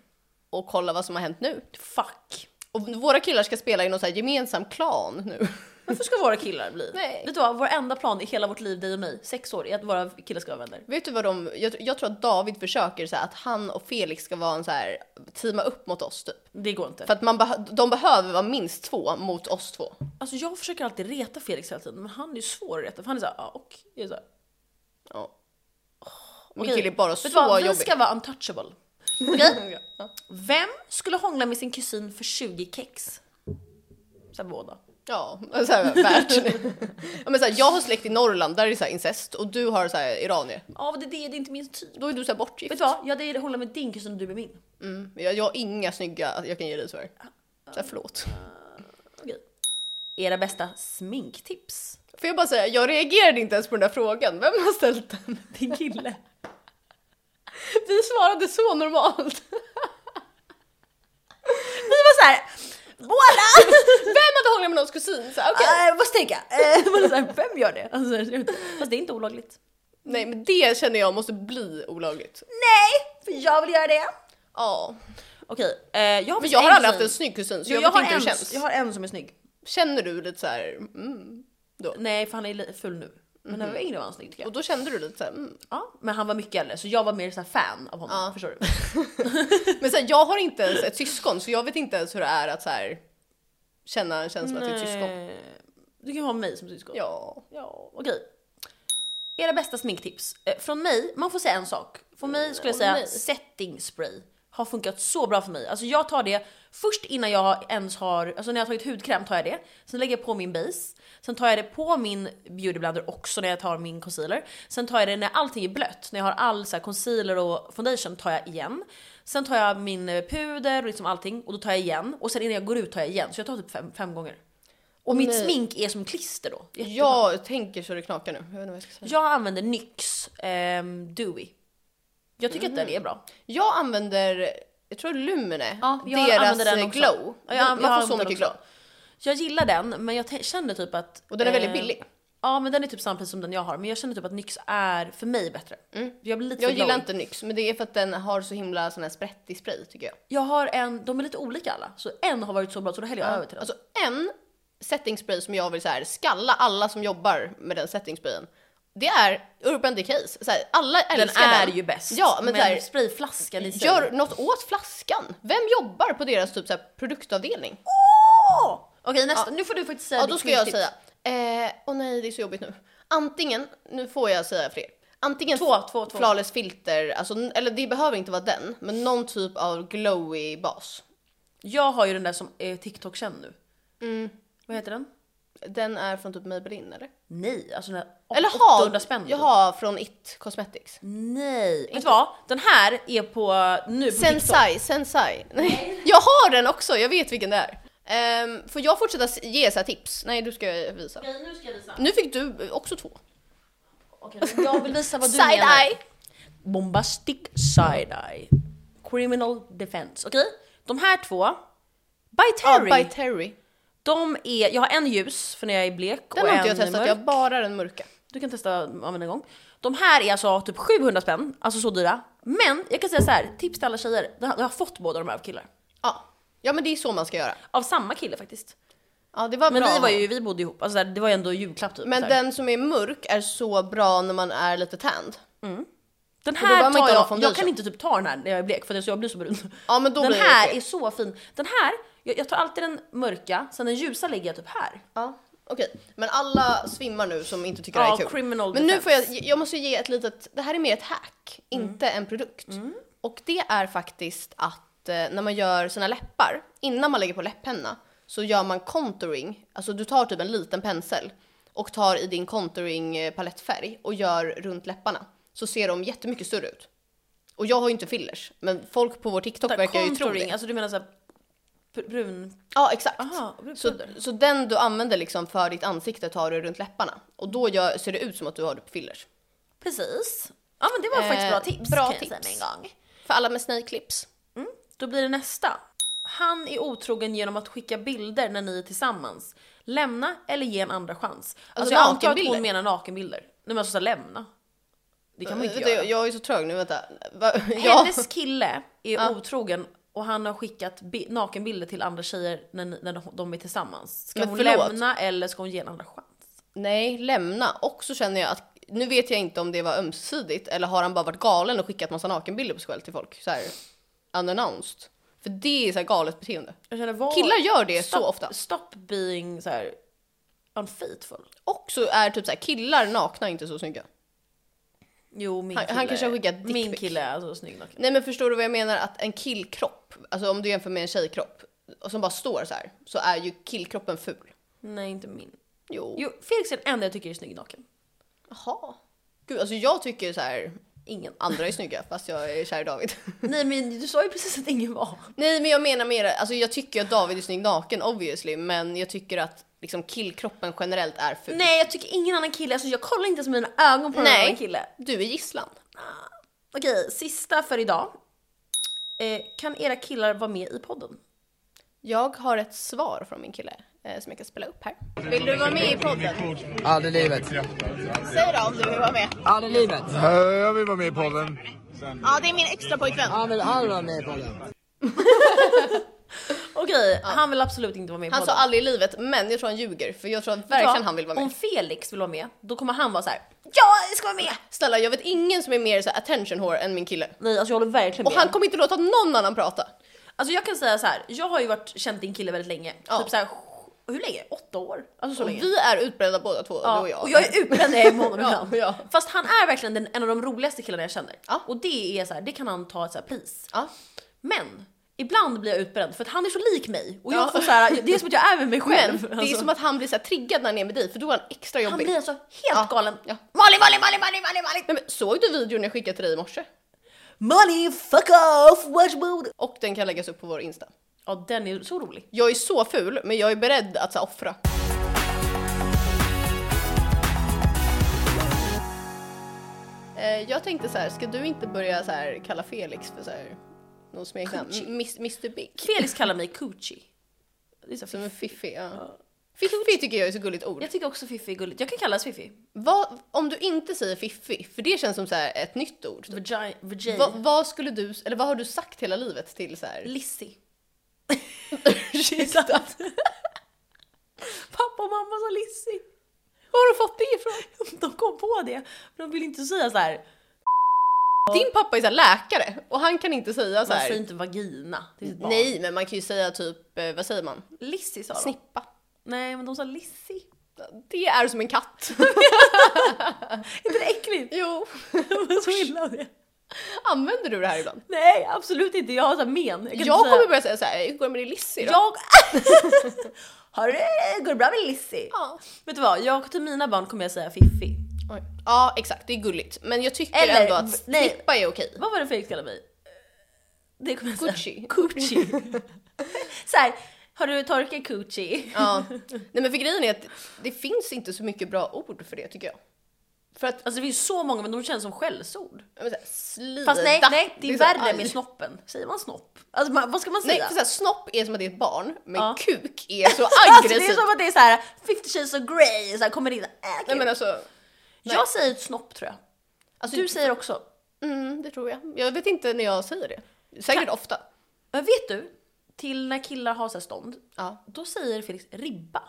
Speaker 1: och kolla vad som har hänt nu.
Speaker 2: Fuck.
Speaker 1: Och våra killar ska spela i någon så här gemensam klan nu. *laughs*
Speaker 2: Varför ska våra killar bli?
Speaker 1: Nej.
Speaker 2: Vet du vad, vår enda plan i hela vårt liv, dig och mig, sex år, är att våra killar ska vara vänner.
Speaker 1: Vet du vad de, jag, jag tror att David försöker så här, att han och Felix ska vara en så här teama upp mot oss typ.
Speaker 2: Det går inte.
Speaker 1: För att man beh- de behöver vara minst två mot oss två.
Speaker 2: Alltså jag försöker alltid reta Felix hela tiden, men han är ju svår att reta för han är såhär, ja och... Jag är så här,
Speaker 1: Ja. Min
Speaker 2: okej.
Speaker 1: kille är bara
Speaker 2: vet du
Speaker 1: så
Speaker 2: vad,
Speaker 1: jobbig.
Speaker 2: Vi ska vara
Speaker 1: *laughs*
Speaker 2: untouchable. Okej? Vem skulle hångla med sin kusin för 20 kex? Såhär båda.
Speaker 1: Ja, *laughs* så här,
Speaker 2: *laughs*
Speaker 1: värt. ja, men så här, jag har släkt i Norrland, där är det så här incest och du har så här iranier.
Speaker 2: Ja men det, är det, det är inte min typ.
Speaker 1: Då är du så här bortgift.
Speaker 2: Vet du vad? Jag hade hålla med din kusin och du med min.
Speaker 1: Mm, jag, jag har inga snygga jag kan ge dig tyvärr. Så här, förlåt.
Speaker 2: Okej. Era bästa sminktips?
Speaker 1: Får jag bara säga, jag reagerade inte ens på den där frågan. Vem har ställt den? *laughs*
Speaker 2: Din kille.
Speaker 1: Vi svarade så normalt. *laughs*
Speaker 2: Vi var såhär,
Speaker 1: *laughs*
Speaker 2: båda!
Speaker 1: Vem hade hånglat med någons kusin? Så här, okej.
Speaker 2: Okay. måste tänka. *laughs* Eh, man är så här, vem gör det? Alltså, jag vet inte. Fast det är inte olagligt.
Speaker 1: Nej men det känner jag måste bli olagligt.
Speaker 2: Nej, för jag vill göra det.
Speaker 1: Ja.
Speaker 2: Okej, eh, jag har
Speaker 1: Men
Speaker 2: faktiskt
Speaker 1: jag har
Speaker 2: en
Speaker 1: aldrig haft
Speaker 2: kusin.
Speaker 1: en snygg kusin så
Speaker 2: Jo,
Speaker 1: jag,
Speaker 2: jag,
Speaker 1: vet
Speaker 2: har
Speaker 1: inte hur
Speaker 2: en,
Speaker 1: det känns.
Speaker 2: jag har en som är snygg.
Speaker 1: Känner du lite så här, mm, då?
Speaker 2: Nej, för han är li- full nu. Men när vi var yngre var han snygg tycker jag.
Speaker 1: Mhm. Och då kände du lite såhär, mm.
Speaker 2: Ja, men han var mycket äldre så jag var mer så här fan av honom.
Speaker 1: Ja.
Speaker 2: Förstår du?
Speaker 1: Men så här, jag har inte ens ett syskon så jag vet inte ens hur det är att så här, känna en känsla till ett syskon.
Speaker 2: Eh, Du kan ha mig som syskon.
Speaker 1: Ja.
Speaker 2: ja okej. Era bästa sminktips. Eh, Från mig, man får säga en sak. För mig skulle jag
Speaker 1: åh,
Speaker 2: säga
Speaker 1: nej.
Speaker 2: setting spray. Har funkat så bra för mig. Alltså jag tar det först innan jag ens har, alltså när jag har tagit hudkräm tar jag det. Sen lägger jag på min base. Sen tar jag det på min beautyblender också när jag tar min concealer. Sen tar jag det när allting är blött. När jag har all så här concealer och foundation tar jag igen. Sen tar jag min eh, puder och liksom allting och då tar jag igen. Och sen innan jag går ut tar jag igen. Så jag tar typ fem, fem gånger. Och mitt
Speaker 1: nej.
Speaker 2: smink är som klister då. Jättebra.
Speaker 1: Jag tänker så det knakar nu. Jag vet inte vad jag ska säga.
Speaker 2: Jag använder NYX ehm, Dewy. Jag tycker att den
Speaker 1: Mm.
Speaker 2: är bra.
Speaker 1: Jag använder, jag tror Lumene,
Speaker 2: Ja, jag
Speaker 1: deras
Speaker 2: använder den också.
Speaker 1: glow.
Speaker 2: Ja, jag- jag
Speaker 1: Man får
Speaker 2: använder
Speaker 1: så
Speaker 2: den
Speaker 1: mycket
Speaker 2: också.
Speaker 1: glow.
Speaker 2: Jag gillar den men jag te- känner typ att...
Speaker 1: Och den är väldigt
Speaker 2: eh,
Speaker 1: billig.
Speaker 2: Ja men den är typ samma pris som den jag har men jag känner typ att NYX är för mig bättre. Jag blir lite
Speaker 1: Mm. Jag
Speaker 2: för
Speaker 1: gillar
Speaker 2: glowy.
Speaker 1: inte NYX men det är för att den har så himla sån här sprättig spray tycker jag.
Speaker 2: Jag har en, de är lite olika alla. Så en har varit så bra så då häller jag över till den.
Speaker 1: Alltså en setting spray som jag vill så här, skalla alla som jobbar med den setting sprayen. Det är Urban Decays. Så här, alla
Speaker 2: den
Speaker 1: älskar
Speaker 2: är
Speaker 1: den.
Speaker 2: ju bäst.
Speaker 1: Ja, men så här,
Speaker 2: sprayflaskan i sig.
Speaker 1: Gör något åt flaskan. Vem jobbar på deras typ så här, produktavdelning?
Speaker 2: Åh! Okej nästa, nu får du faktiskt säga
Speaker 1: Ja,
Speaker 2: ditt
Speaker 1: då ska jag
Speaker 2: sminktips.
Speaker 1: säga. Eh, åh nej, det är så jobbigt nu. Antingen, nu får jag säga fler. Antingen
Speaker 2: Två, två, två.
Speaker 1: flawless filter, alltså, n- eller det behöver inte vara den, men någon typ av glowy bas.
Speaker 2: Jag har ju den där som är TikTok-känd nu.
Speaker 1: Mm.
Speaker 2: Vad heter den?
Speaker 1: Den är från typ Maybelline eller?
Speaker 2: Nej, alltså den där
Speaker 1: Eller ha,
Speaker 2: 800 spänn. typ. Mm.
Speaker 1: Jaha, från It Cosmetics.
Speaker 2: Nej, vet du vad? Den här är på nu på TikTok.
Speaker 1: Sensai, sensai. *laughs* Nej. Jag har den också, jag vet vilken det är. Ehm, får jag fortsätta s- ge så här tips? Nej, du ska visa.
Speaker 2: Okej, nu ska jag visa.
Speaker 1: Nu fick du eh, också två.
Speaker 2: Okej, men jag vill visa vad du menar.
Speaker 1: Side-eye!
Speaker 2: Bombastic side-eye. Criminal defense. Okej, de här två. By
Speaker 1: Ja,
Speaker 2: Terry.
Speaker 1: by Terry.
Speaker 2: de är, jag har en ljus för när jag är blek
Speaker 1: Den
Speaker 2: och
Speaker 1: har
Speaker 2: en
Speaker 1: inte jag testat,
Speaker 2: mörk.
Speaker 1: jag har bara den mörka.
Speaker 2: Du kan testa använda en gång. De här är alltså typ 700 spänn, alltså så dyra. Men jag kan säga så här, tips till alla tjejer. Jag har- jag har fått båda de här av killar.
Speaker 1: Ja. ja, men det är så man ska göra.
Speaker 2: Av samma kille faktiskt.
Speaker 1: Ja, det var
Speaker 2: Men
Speaker 1: bra.
Speaker 2: vi var ju, vi bodde ihop, alltså så här, det var ju ändå julklapp typ.
Speaker 1: Men
Speaker 2: så här.
Speaker 1: den som är mörk är så bra när man är lite tänd.
Speaker 2: Den
Speaker 1: då behöver
Speaker 2: här
Speaker 1: man
Speaker 2: tar
Speaker 1: inte ha
Speaker 2: jag,
Speaker 1: foundation.
Speaker 2: jag kan inte typ ta den här när jag är blek för det, så jag blir så brun.
Speaker 1: Ja, men då
Speaker 2: den
Speaker 1: blir det
Speaker 2: här
Speaker 1: fel.
Speaker 2: är så fin. Den här, jag, jag tar alltid den mörka, sen den ljusa lägger jag typ här.
Speaker 1: Ja. Okej, men alla svimmar nu som inte tycker
Speaker 2: Ja,
Speaker 1: det här är kul.
Speaker 2: criminal
Speaker 1: men nu
Speaker 2: defense. Mm.
Speaker 1: får jag, jag måste ge ett litet, det här är mer ett hack, inte en produkt. Och det är faktiskt att eh, när man gör sina läppar, innan man lägger på läpppenna, så gör man contouring, alltså du tar typ en liten pensel och tar i din contouring eh, palettfärg och gör runt läpparna. Så ser de jättemycket större ut. Och jag har ju inte fillers, men folk på vår TikTok verkar ju tro det.
Speaker 2: Contouring, alltså du menar såhär brun...
Speaker 1: Ja, exakt.
Speaker 2: Aha, brun
Speaker 1: Så,
Speaker 2: puder.
Speaker 1: så den du använder liksom för ditt ansikte tar du runt läpparna och då gör, ser det ut som att du har typ fillers.
Speaker 2: Precis. Ja men det var faktiskt
Speaker 1: Eh,
Speaker 2: bra tips.
Speaker 1: bra
Speaker 2: kan jag säga
Speaker 1: tips.
Speaker 2: med en gång.
Speaker 1: För alla med snake lips.
Speaker 2: Då blir det nästa. Han är otrogen genom att skicka bilder när ni är tillsammans. Lämna eller ge en andra chans. Alltså jag antar att
Speaker 1: nakenbilder.
Speaker 2: hon menar nakenbilder. Nej men alltså såhär lämna. Det kan man ju inte
Speaker 1: Vänta,
Speaker 2: göra.
Speaker 1: jag, Eh, jag är så trög nu, vänta. Va?
Speaker 2: *laughs*
Speaker 1: Ja.
Speaker 2: Hennes kille är otrogen och han har skickat bi- nakenbilder till andra tjejer när, ni- när de- de är tillsammans. Ska
Speaker 1: Men
Speaker 2: hon
Speaker 1: förlåt.
Speaker 2: lämna eller ska hon ge en andra chans?
Speaker 1: Nej, lämna. Och så känner jag att nu vet jag inte om det var ömsesidigt eller har han bara varit galen och skickat massa nakenbilder på sig själv till folk så här unannounced. För det är så här galet beteende.
Speaker 2: Jag känner, vad-
Speaker 1: Killar gör det
Speaker 2: stop,
Speaker 1: så ofta.
Speaker 2: Stop being så här unfaithful.
Speaker 1: Och så är typ så här killar nakna inte så snygga.
Speaker 2: Jo min
Speaker 1: Han-
Speaker 2: kille,
Speaker 1: han kanske har skickat dick
Speaker 2: Min
Speaker 1: pic.
Speaker 2: kille är alltså snygg naken.
Speaker 1: Nej men förstår du vad jag menar? Att en killkropp, alltså om du jämför med en tjejkropp och som bara står så här, så är ju killkroppen ful.
Speaker 2: Nej inte min.
Speaker 1: Jo.
Speaker 2: Jo Felix är den enda jag tycker är snygg naken.
Speaker 1: Jaha. Gud, alltså jag tycker så här,
Speaker 2: Ingen.
Speaker 1: andra är snygga fast jag är kär i David. *laughs*
Speaker 2: Nej men du sa ju precis att ingen var.
Speaker 1: Nej men jag menar mer, alltså jag tycker att David är snygg naken obviously, men jag tycker att liksom killkroppen generellt är ful.
Speaker 2: Nej jag tycker ingen annan kille, alltså jag kollar inte ens med mina ögon på någon
Speaker 1: Nej.
Speaker 2: annan kille.
Speaker 1: Du är gisslan.
Speaker 2: Okej, sista för idag. Eh, kan era killar vara med i podden?
Speaker 1: Jag har ett svar från min kille eh, som jag kan spela upp här. Vill du vara med i podden?
Speaker 3: Aldrig i livet.
Speaker 1: Säg då om du vill vara med.
Speaker 3: Aldrig i livet.
Speaker 4: Eh, Jag vill vara med i podden.
Speaker 1: Ja, det är min extra pojkvän.
Speaker 3: Han vill aldrig vara med i podden.
Speaker 2: Okej, Okej, han vill absolut inte vara med
Speaker 1: Han
Speaker 2: på
Speaker 1: sa
Speaker 2: podden.
Speaker 1: aldrig i livet, men jag tror han ljuger för jag tror att
Speaker 2: Vet du vad?
Speaker 1: verkligen han vill vara med.
Speaker 2: Om Felix vill vara med, då kommer han vara så här. Ja, jag ska vara med!
Speaker 1: Snälla, jag vet ingen som är mer så här attention whore än min kille.
Speaker 2: Nej, alltså jag håller verkligen
Speaker 1: Och
Speaker 2: med.
Speaker 1: han kommer inte låta någon annan prata.
Speaker 2: Alltså jag kan säga så här, jag har ju varit känt din kille väldigt länge.
Speaker 1: Ja.
Speaker 2: Typ så här, hur länge? Åtta år? Alltså så
Speaker 1: Och
Speaker 2: länge.
Speaker 1: vi är utbrända båda två,
Speaker 2: Ja,
Speaker 1: du och jag.
Speaker 2: och jag är utbränd när jag är med honom
Speaker 1: *laughs* Ja,
Speaker 2: ibland.
Speaker 1: ja.
Speaker 2: Fast han är verkligen den, en av de roligaste killarna jag känner.
Speaker 1: Ja.
Speaker 2: Och det är så här, det kan han ta ett så här pris.
Speaker 1: Ja.
Speaker 2: *laughs* Men ibland blir jag utbränd för att han är så lik mig. Och jag
Speaker 1: Ja.
Speaker 2: får så här, det är som att jag är med mig själv.
Speaker 1: Men det är
Speaker 2: alltså.
Speaker 1: som att han blir så här triggad när han är med dig för då är han extra jobbig.
Speaker 2: han blir alltså helt
Speaker 1: Ja,
Speaker 2: galen.
Speaker 1: ja.
Speaker 2: Malin, Malin, Malin, Malin, Malin, Malin!
Speaker 1: Nej, men såg du videon jag skickade till dig i morse?
Speaker 2: Malin, fuck off, watch mood!
Speaker 1: Och den kan läggas upp på vår Insta.
Speaker 2: Ja, den är så rolig.
Speaker 1: Jag är så ful, men jag är beredd att så här, offra. Eh, Jag tänkte så här, ska du inte börja så här, kalla Felix för så här, någon smeknamn?
Speaker 2: Coochie.
Speaker 1: M- Miss- Mr Big?
Speaker 2: Felix kallar mig coochie. Det är så
Speaker 1: Som
Speaker 2: fiff.
Speaker 1: en fiffig, ja. Fiffig tycker jag är ett så gulligt ord.
Speaker 2: Jag tycker också fiffi är gulligt. Jag kan kallas fiffi.
Speaker 1: Vad, om du inte säger fiffig, för det känns som så här ett nytt ord. typ.
Speaker 2: Vagina. vagina.
Speaker 1: Vad, vad skulle du, eller vad har du sagt hela livet till så här?
Speaker 2: Lissi.
Speaker 1: *laughs* Ursäkta.
Speaker 2: *laughs* Pappa och mamma sa Lissi.
Speaker 1: Var har du fått det ifrån?
Speaker 2: *laughs* De kom på det. Men de ville inte säga så här.
Speaker 1: Din pappa är så här läkare och han kan inte säga så
Speaker 2: Man
Speaker 1: här.
Speaker 2: säger inte vagina till sitt barn.
Speaker 1: Nej, men man kan ju säga typ, eh, vad säger man?
Speaker 2: Lissi sa de.
Speaker 1: Snippa.
Speaker 2: Nej, men de sa Lissi.
Speaker 1: Det är som en
Speaker 2: *laughs*
Speaker 1: katt.
Speaker 2: Är inte det äckligt?
Speaker 1: jo.
Speaker 2: *laughs* Jag var så illa av det.
Speaker 1: *laughs* Använder du det här ibland?
Speaker 2: Nej, absolut inte. Jag har så här men. kan
Speaker 1: Jag,
Speaker 2: inte säga-
Speaker 1: kommer börja säga så här, hur går det med din Lissi då? *laughs*
Speaker 2: Jag... har du... Går det bra med Lissi?
Speaker 1: Ja.
Speaker 2: Vet du vad? Jag till mina barn kommer jag säga Fiffi.
Speaker 1: Oj. Ja, exakt, det är gulligt. Men jag tycker
Speaker 2: Eller-
Speaker 1: ändå att
Speaker 2: nej.
Speaker 1: snippa är okej.
Speaker 2: *laughs* Vad var det Felix kallade mig? Det kommer jag
Speaker 1: Gucci.
Speaker 2: säga.
Speaker 1: *laughs*
Speaker 2: Gucci. så här, har du torkat Gucci?
Speaker 1: Ja. Nej men för grejen är att det finns inte så mycket bra ord för det tycker jag. För att,
Speaker 2: Alltså det finns så många men de känns som skällsord.
Speaker 1: jag menar, så här, slida.
Speaker 2: Fast nej, nej det är
Speaker 1: så här,
Speaker 2: värre
Speaker 1: aj.
Speaker 2: med snoppen. Säger man snopp? Alltså man, vad ska man
Speaker 1: Nej,
Speaker 2: säga?
Speaker 1: för så här, snopp är som att det är ett barn, men
Speaker 2: *laughs* Ja.
Speaker 1: kuk är så
Speaker 2: alltså det är
Speaker 1: aggressivt.
Speaker 2: som att det är så här 50 shades of grey, så här, kommer in. Äh,
Speaker 1: Nej men
Speaker 2: men,
Speaker 1: alltså,
Speaker 2: jag säger ett snopp tror jag.
Speaker 1: alltså
Speaker 2: Du säger också.
Speaker 1: mm, det tror jag. Jag vet inte när jag säger det. Säkert ofta.
Speaker 2: Men vet du? Till när killar har så här stånd,
Speaker 1: Ja.
Speaker 2: då säger Felix ribba.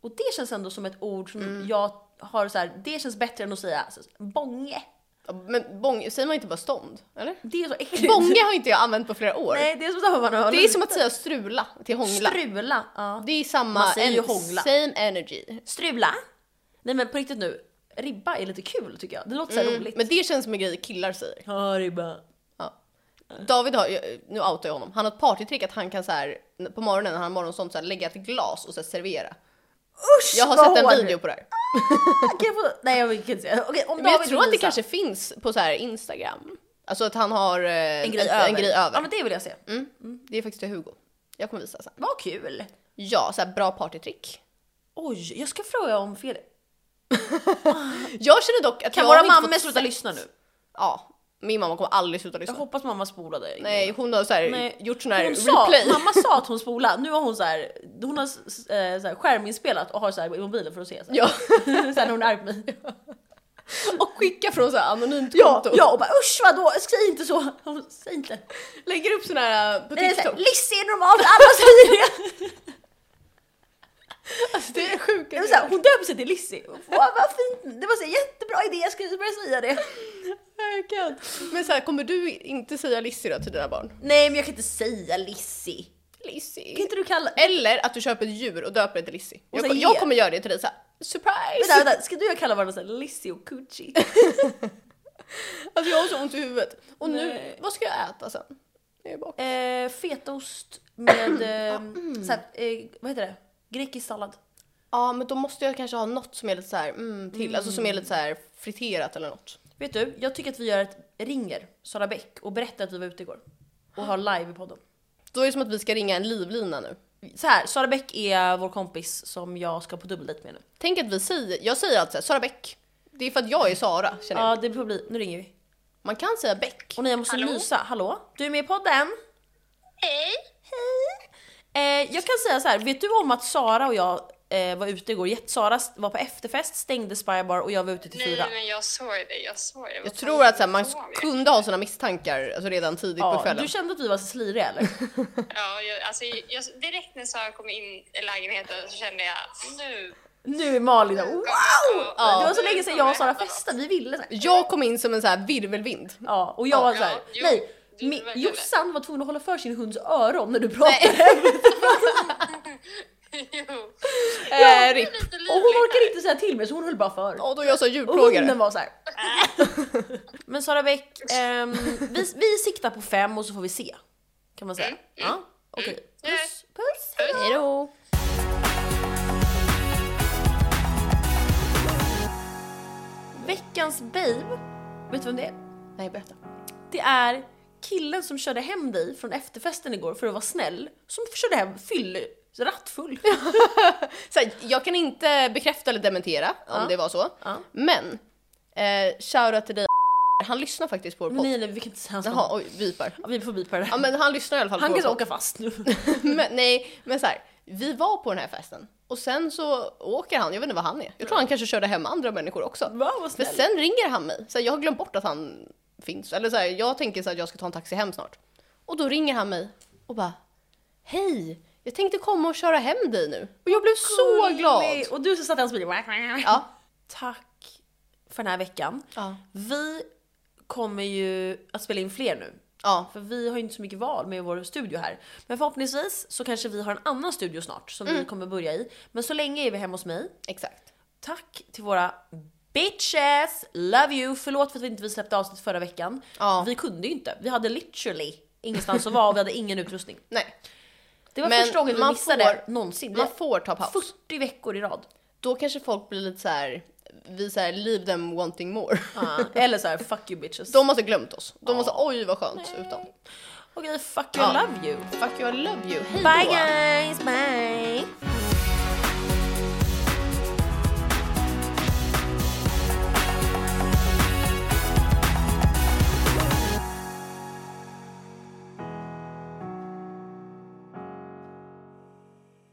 Speaker 2: Och det känns ändå som ett ord som
Speaker 1: Mm.
Speaker 2: jag har så här, det känns bättre än att säga alltså, bånge.
Speaker 1: Ja, Men bång, säger man inte bara stånd? Eller?
Speaker 2: *laughs* Det är så
Speaker 1: *laughs*
Speaker 2: äckligt.
Speaker 1: Bånge har inte jag använt på flera år.
Speaker 2: Nej, det är som att man har
Speaker 1: det är som att säga strula till hångla.
Speaker 2: strula. Ja.
Speaker 1: Det är samma,
Speaker 2: Man säger ju
Speaker 1: en-
Speaker 2: hångla.
Speaker 1: same energy. Mm,
Speaker 2: Strula. Nej men på riktigt nu, ribba är lite kul tycker jag. Det låter så här roligt.
Speaker 1: Mm, Men det känns som en grej killar säger.
Speaker 2: Ja, ribba.
Speaker 1: Ja. David har, jag- nu outar jag honom, han har ett partytrick att han kan så här på morgonen när han har morgonsånt så här, lägga ett glas och så här, servera.
Speaker 2: Usch
Speaker 1: Jag har
Speaker 2: vad
Speaker 1: sett en
Speaker 2: hård.
Speaker 1: *laughs* video på det här.
Speaker 2: Kan jag få... Nej jag kan inte säga. Okej, om
Speaker 1: Men jag
Speaker 2: David
Speaker 1: tror att
Speaker 2: vill
Speaker 1: det
Speaker 2: visa
Speaker 1: kanske finns på så här Instagram. Alltså att han har eh,
Speaker 2: en grej,
Speaker 1: en,
Speaker 2: över.
Speaker 1: en grej över.
Speaker 2: Ja men det vill jag se.
Speaker 1: mm. Det är faktiskt till Hugo. Jag kommer visa sen.
Speaker 2: Vad kul.
Speaker 1: Ja, så här bra partytrick.
Speaker 2: Oj, jag ska fråga om Felix.
Speaker 1: Jag känner dock att
Speaker 2: Kan
Speaker 1: jag
Speaker 2: våra
Speaker 1: har inte
Speaker 2: mammor
Speaker 1: fått
Speaker 2: sluta
Speaker 1: sett-
Speaker 2: lyssna nu?
Speaker 1: Ja, min mamma kommer aldrig sluta lyssna.
Speaker 2: Jag hoppas mamma spolade.
Speaker 1: Nej, hon har så här gjort sån här
Speaker 2: hon
Speaker 1: replay.
Speaker 2: *laughs* Sa, mamma sa att hon spolade, nu har hon så här, hon har s- eh, så här skärminspelat och har så här i mobilen för att se. *laughs* Så här.
Speaker 1: *laughs* Ja.
Speaker 2: Sen när hon är arg på mig.
Speaker 1: Och skicka från så här anonymt
Speaker 2: *laughs* Ja,
Speaker 1: konto.
Speaker 2: ja och bara usch vadå, säg inte så. Hon, Säg inte.
Speaker 1: Lägger upp sån här eh, på
Speaker 2: Nej, så här,
Speaker 1: TikTok.
Speaker 2: Lissi är normalt, alla säger det. *laughs*
Speaker 1: Alltså, det är det sjuka.
Speaker 2: Jag var Så här, hon döper sig till Lissi. Vad, vad fint, det var så här, jättebra idé, jag ska börja säga det.
Speaker 1: Verkligen. Men så här, kommer du inte säga Lissi då till dina barn?
Speaker 2: Nej men jag kan inte säga Lissi. Kan
Speaker 1: Lissi.
Speaker 2: inte du kalla...
Speaker 1: Eller att du köper ett djur och döper det till Lissi. Jag,
Speaker 2: sen
Speaker 1: ko-
Speaker 2: ger.
Speaker 1: jag kommer göra det till dig såhär, surprise!
Speaker 2: Vänta, vänta, ska du och jag kalla varandra så här, Lissi och Gucci?
Speaker 1: Alltså jag har så ont i huvudet. Och nu,
Speaker 2: Nej.
Speaker 1: vad ska jag äta sen? Jag är bak.
Speaker 2: Eh, fetaost
Speaker 3: *clears throat*
Speaker 2: med eh,
Speaker 3: mm.
Speaker 2: så här, eh, vad heter det? Grekisk sallad.
Speaker 1: Ja men då måste jag kanske ha något som är lite såhär, mm, till, alltså som är lite såhär friterat eller något.
Speaker 2: Vet du, jag tycker att vi gör ett ringer Sara Bäck och berättar att vi var ute igår och har live i podden.
Speaker 1: Då är det som att vi ska ringa en livlina nu.
Speaker 2: Så här, Sara Bäck är vår kompis som jag ska på dubbeldejt med nu.
Speaker 1: Tänk att vi säger, jag säger alltid såhär, Sara Bäck. Det är för att jag är Sara känner jag.
Speaker 2: Ja, det får bli. Nu ringer vi.
Speaker 1: Man kan säga Bäck.
Speaker 2: Och nej, jag måste nysa. Hallå? Du är med i podden?
Speaker 3: Hej!
Speaker 2: Hej! Eh, jag kan säga så här, vet du om att Sara och jag eh, var ute igår. Jett- Sara var på efterfest, stängde Spy Bar och jag var ute till fyra.
Speaker 3: Nej men jag såg det, jag såg det.
Speaker 1: Jag tror att så här, man kunde ha sina misstankar alltså, redan tidigt på
Speaker 2: Ja,
Speaker 1: kvällen.
Speaker 2: du kände att vi var så sliriga eller?
Speaker 3: Ja, jag, alltså, jag, direkt när Sara kom in i lägenheten så kände jag nu...
Speaker 2: nu är Malin wow!
Speaker 3: Ja.
Speaker 2: Det var så länge sedan jag och Sara festade, vi ville så här.
Speaker 1: Jag kom in som en så här virvelvind.
Speaker 2: Ja, och jag var så här,
Speaker 3: Ja, jo,
Speaker 2: nej.
Speaker 3: du
Speaker 2: mi-
Speaker 3: verkar
Speaker 2: Jossan var tvungen att hålla för sin hunds öron när du pratade.
Speaker 3: *laughs* jo.
Speaker 1: Ja, RIP.
Speaker 3: Lite
Speaker 2: Eh, Och hon orkade inte säga till mig så hon höll bara för.
Speaker 1: Och då är jag så
Speaker 2: Och hunden
Speaker 1: djurplågare.
Speaker 2: var så här. *laughs* Men Sara Bäck, ehm, vi, vi siktar på fem och så får vi se. Kan man säga.
Speaker 1: mm.
Speaker 2: Ja, okej.
Speaker 3: Mm.
Speaker 2: Puss, puss.
Speaker 1: Hejdå!
Speaker 2: Veckans babe, vet du vem det är?
Speaker 1: Nej, berätta.
Speaker 2: Det är killen som körde hem dig från efterfesten igår för att vara snäll, som körde hem fyll,
Speaker 1: *laughs*
Speaker 2: rattfull.
Speaker 1: Så här, jag kan inte bekräfta eller dementera om
Speaker 2: Ja.
Speaker 1: det var så.
Speaker 2: Ja.
Speaker 1: Men, eh, shoutout till dig Han lyssnar faktiskt på vår
Speaker 2: Men
Speaker 1: podd.
Speaker 2: nej, nej, vi kan inte säga hans namn.
Speaker 1: Jaha, oj, vipar.
Speaker 2: Ja, Vi får bipa det
Speaker 1: Ja
Speaker 2: där.
Speaker 1: men han lyssnar i alla fall
Speaker 2: Han
Speaker 1: på
Speaker 2: kan så
Speaker 1: vår podd.
Speaker 2: åka fast nu. *laughs*
Speaker 1: *laughs* men, Nej, men så här. Vi var på den här festen och sen så åker han, jag vet inte vad han är. Jag tror han kanske körde hem andra människor också.
Speaker 2: Va, vad
Speaker 1: För
Speaker 2: snäll.
Speaker 1: sen ringer han mig. Så här, jag har glömt bort att han finns. Eller så här, jag tänker så här, att jag ska ta en taxi hem snart. Och då ringer han mig och bara Hej! Jag tänkte komma och köra hem dig nu. Och jag blev så glad!
Speaker 2: Gullig. Och du så satt i hans bil.
Speaker 1: Ja.
Speaker 2: Tack för den här veckan.
Speaker 1: Ja.
Speaker 2: Vi kommer ju att spela in fler nu.
Speaker 1: Ja.
Speaker 2: För vi har ju inte så mycket val med vår studio här. Men förhoppningsvis så kanske vi har en annan studio snart som vi kommer börja i. Men så länge är vi hemma hos mig.
Speaker 1: Exakt.
Speaker 2: Tack till våra bitches! Love you! Förlåt för att vi inte vi släppte avsnitt förra veckan.
Speaker 1: Ja.
Speaker 2: Vi kunde ju inte. Vi hade literally ingenstans att vara och vi hade ingen utrustning.
Speaker 1: Nej,
Speaker 2: Det var
Speaker 1: Men
Speaker 2: första gången vi
Speaker 1: man
Speaker 2: missade
Speaker 1: får-
Speaker 2: någonsin. Vi
Speaker 1: man
Speaker 2: har
Speaker 1: får ta paus.
Speaker 2: 40 veckor i rad.
Speaker 1: Då kanske folk blir lite så här, vi så här, leave them wanting more.
Speaker 2: Ja, Eller så här, fuck you bitches.
Speaker 1: De måste ha glömt oss. De måste, oj vad skönt utan.
Speaker 2: Okej, fuck you, I love you.
Speaker 1: Fuck you, I love you. Hej
Speaker 2: Bye
Speaker 1: då!
Speaker 2: guys, bye!